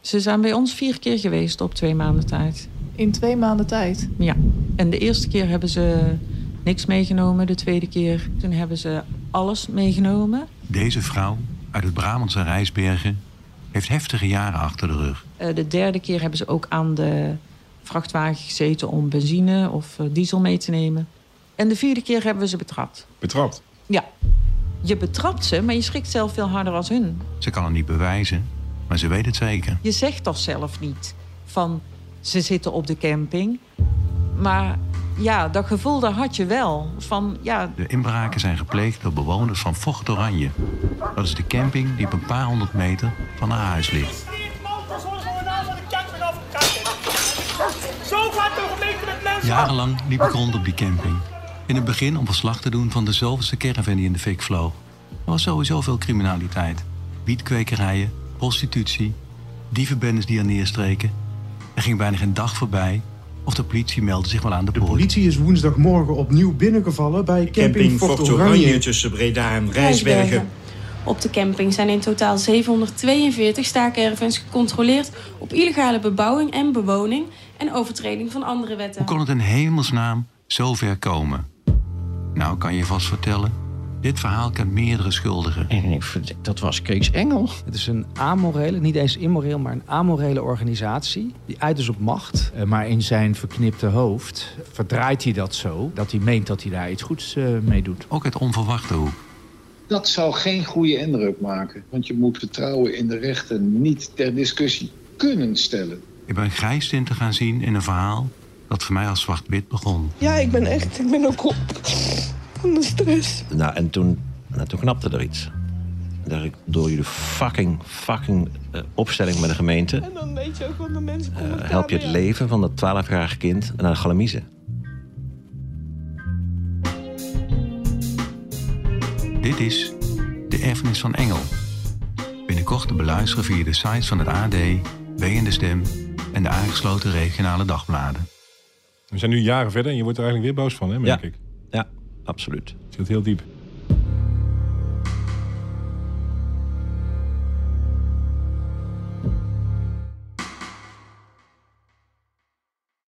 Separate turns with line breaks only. Ze zijn bij ons vier keer geweest op twee maanden tijd.
In twee maanden tijd?
Ja. En de eerste keer hebben ze niks meegenomen. De tweede keer toen hebben ze alles meegenomen.
Deze vrouw uit het Brabantse Rijsbergen heeft heftige jaren achter de rug.
Eh, de derde keer hebben ze ook aan de vrachtwagen gezeten om benzine of eh, diesel mee te nemen. En de vierde keer hebben we ze betrapt.
Betrapt.
Ja. Je betrapt ze, maar je schrikt zelf veel harder als hun.
Ze kan het niet bewijzen, maar ze weet het zeker.
Je zegt toch zelf niet van ze zitten op de camping. Maar ja, dat gevoel dat had je wel. Van ja,
De inbraken zijn gepleegd door bewoners van Vocht Oranje. Dat is de camping die op een paar honderd meter van haar huis ligt.
Zo gaat de gemeente met mensen
Jarenlang liep ik rond op die camping. In het begin om verslag te doen van de zoveelste caravan die in de fik vloog. Er was sowieso veel criminaliteit. Wietkwekerijen, prostitutie, dievenbendes die er neerstreken. Er ging bijna geen dag voorbij of de politie meldde zich wel aan de
De
poort.
politie is woensdagmorgen opnieuw binnengevallen bij camping,
Camping
Fort
Fort
Oranje.
Oranje tussen Breda en Rijsbergen.
Op de camping zijn in totaal 742 staakervens gecontroleerd op illegale bebouwing en bewoning en overtreding van andere wetten.
Hoe kon het in hemelsnaam zo ver komen? Nou, kan je vast vertellen, dit verhaal kent meerdere schuldigen.
En ik verd- dat was Kees Engel.
Het is een amorele, niet eens immoreel, maar een amorele organisatie. Die uit is op macht.
Eh, Maar in zijn verknipte hoofd verdraait hij dat zo... dat hij meent dat hij daar iets goeds eh, mee doet.
Ook uit onverwachte hoek.
Dat zou geen goede indruk maken, want je moet vertrouwen in de rechten niet ter discussie kunnen stellen.
Ik ben grijstinten gaan zien in een verhaal dat voor mij als zwart-wit begon.
Ja, ik ben echt, ik ben ook op van de stress.
Nou, en toen, nou, toen knapte er iets. Dat ik door jullie fucking, fucking eh, opstelling met de gemeente...
En dan weet je ook wat de mensen
eh,
komen.
help je het leven van dat 12-jarige kind naar de galamiezen.
Dit is De Erfenis van Engel. Binnenkort te beluisteren via de sites van het AD, B en de Stem en de aangesloten regionale dagbladen.
We zijn nu jaren verder en je wordt er eigenlijk weer boos van, hè, merk
Ja.
ik.
Ja, absoluut.
Het zit heel diep.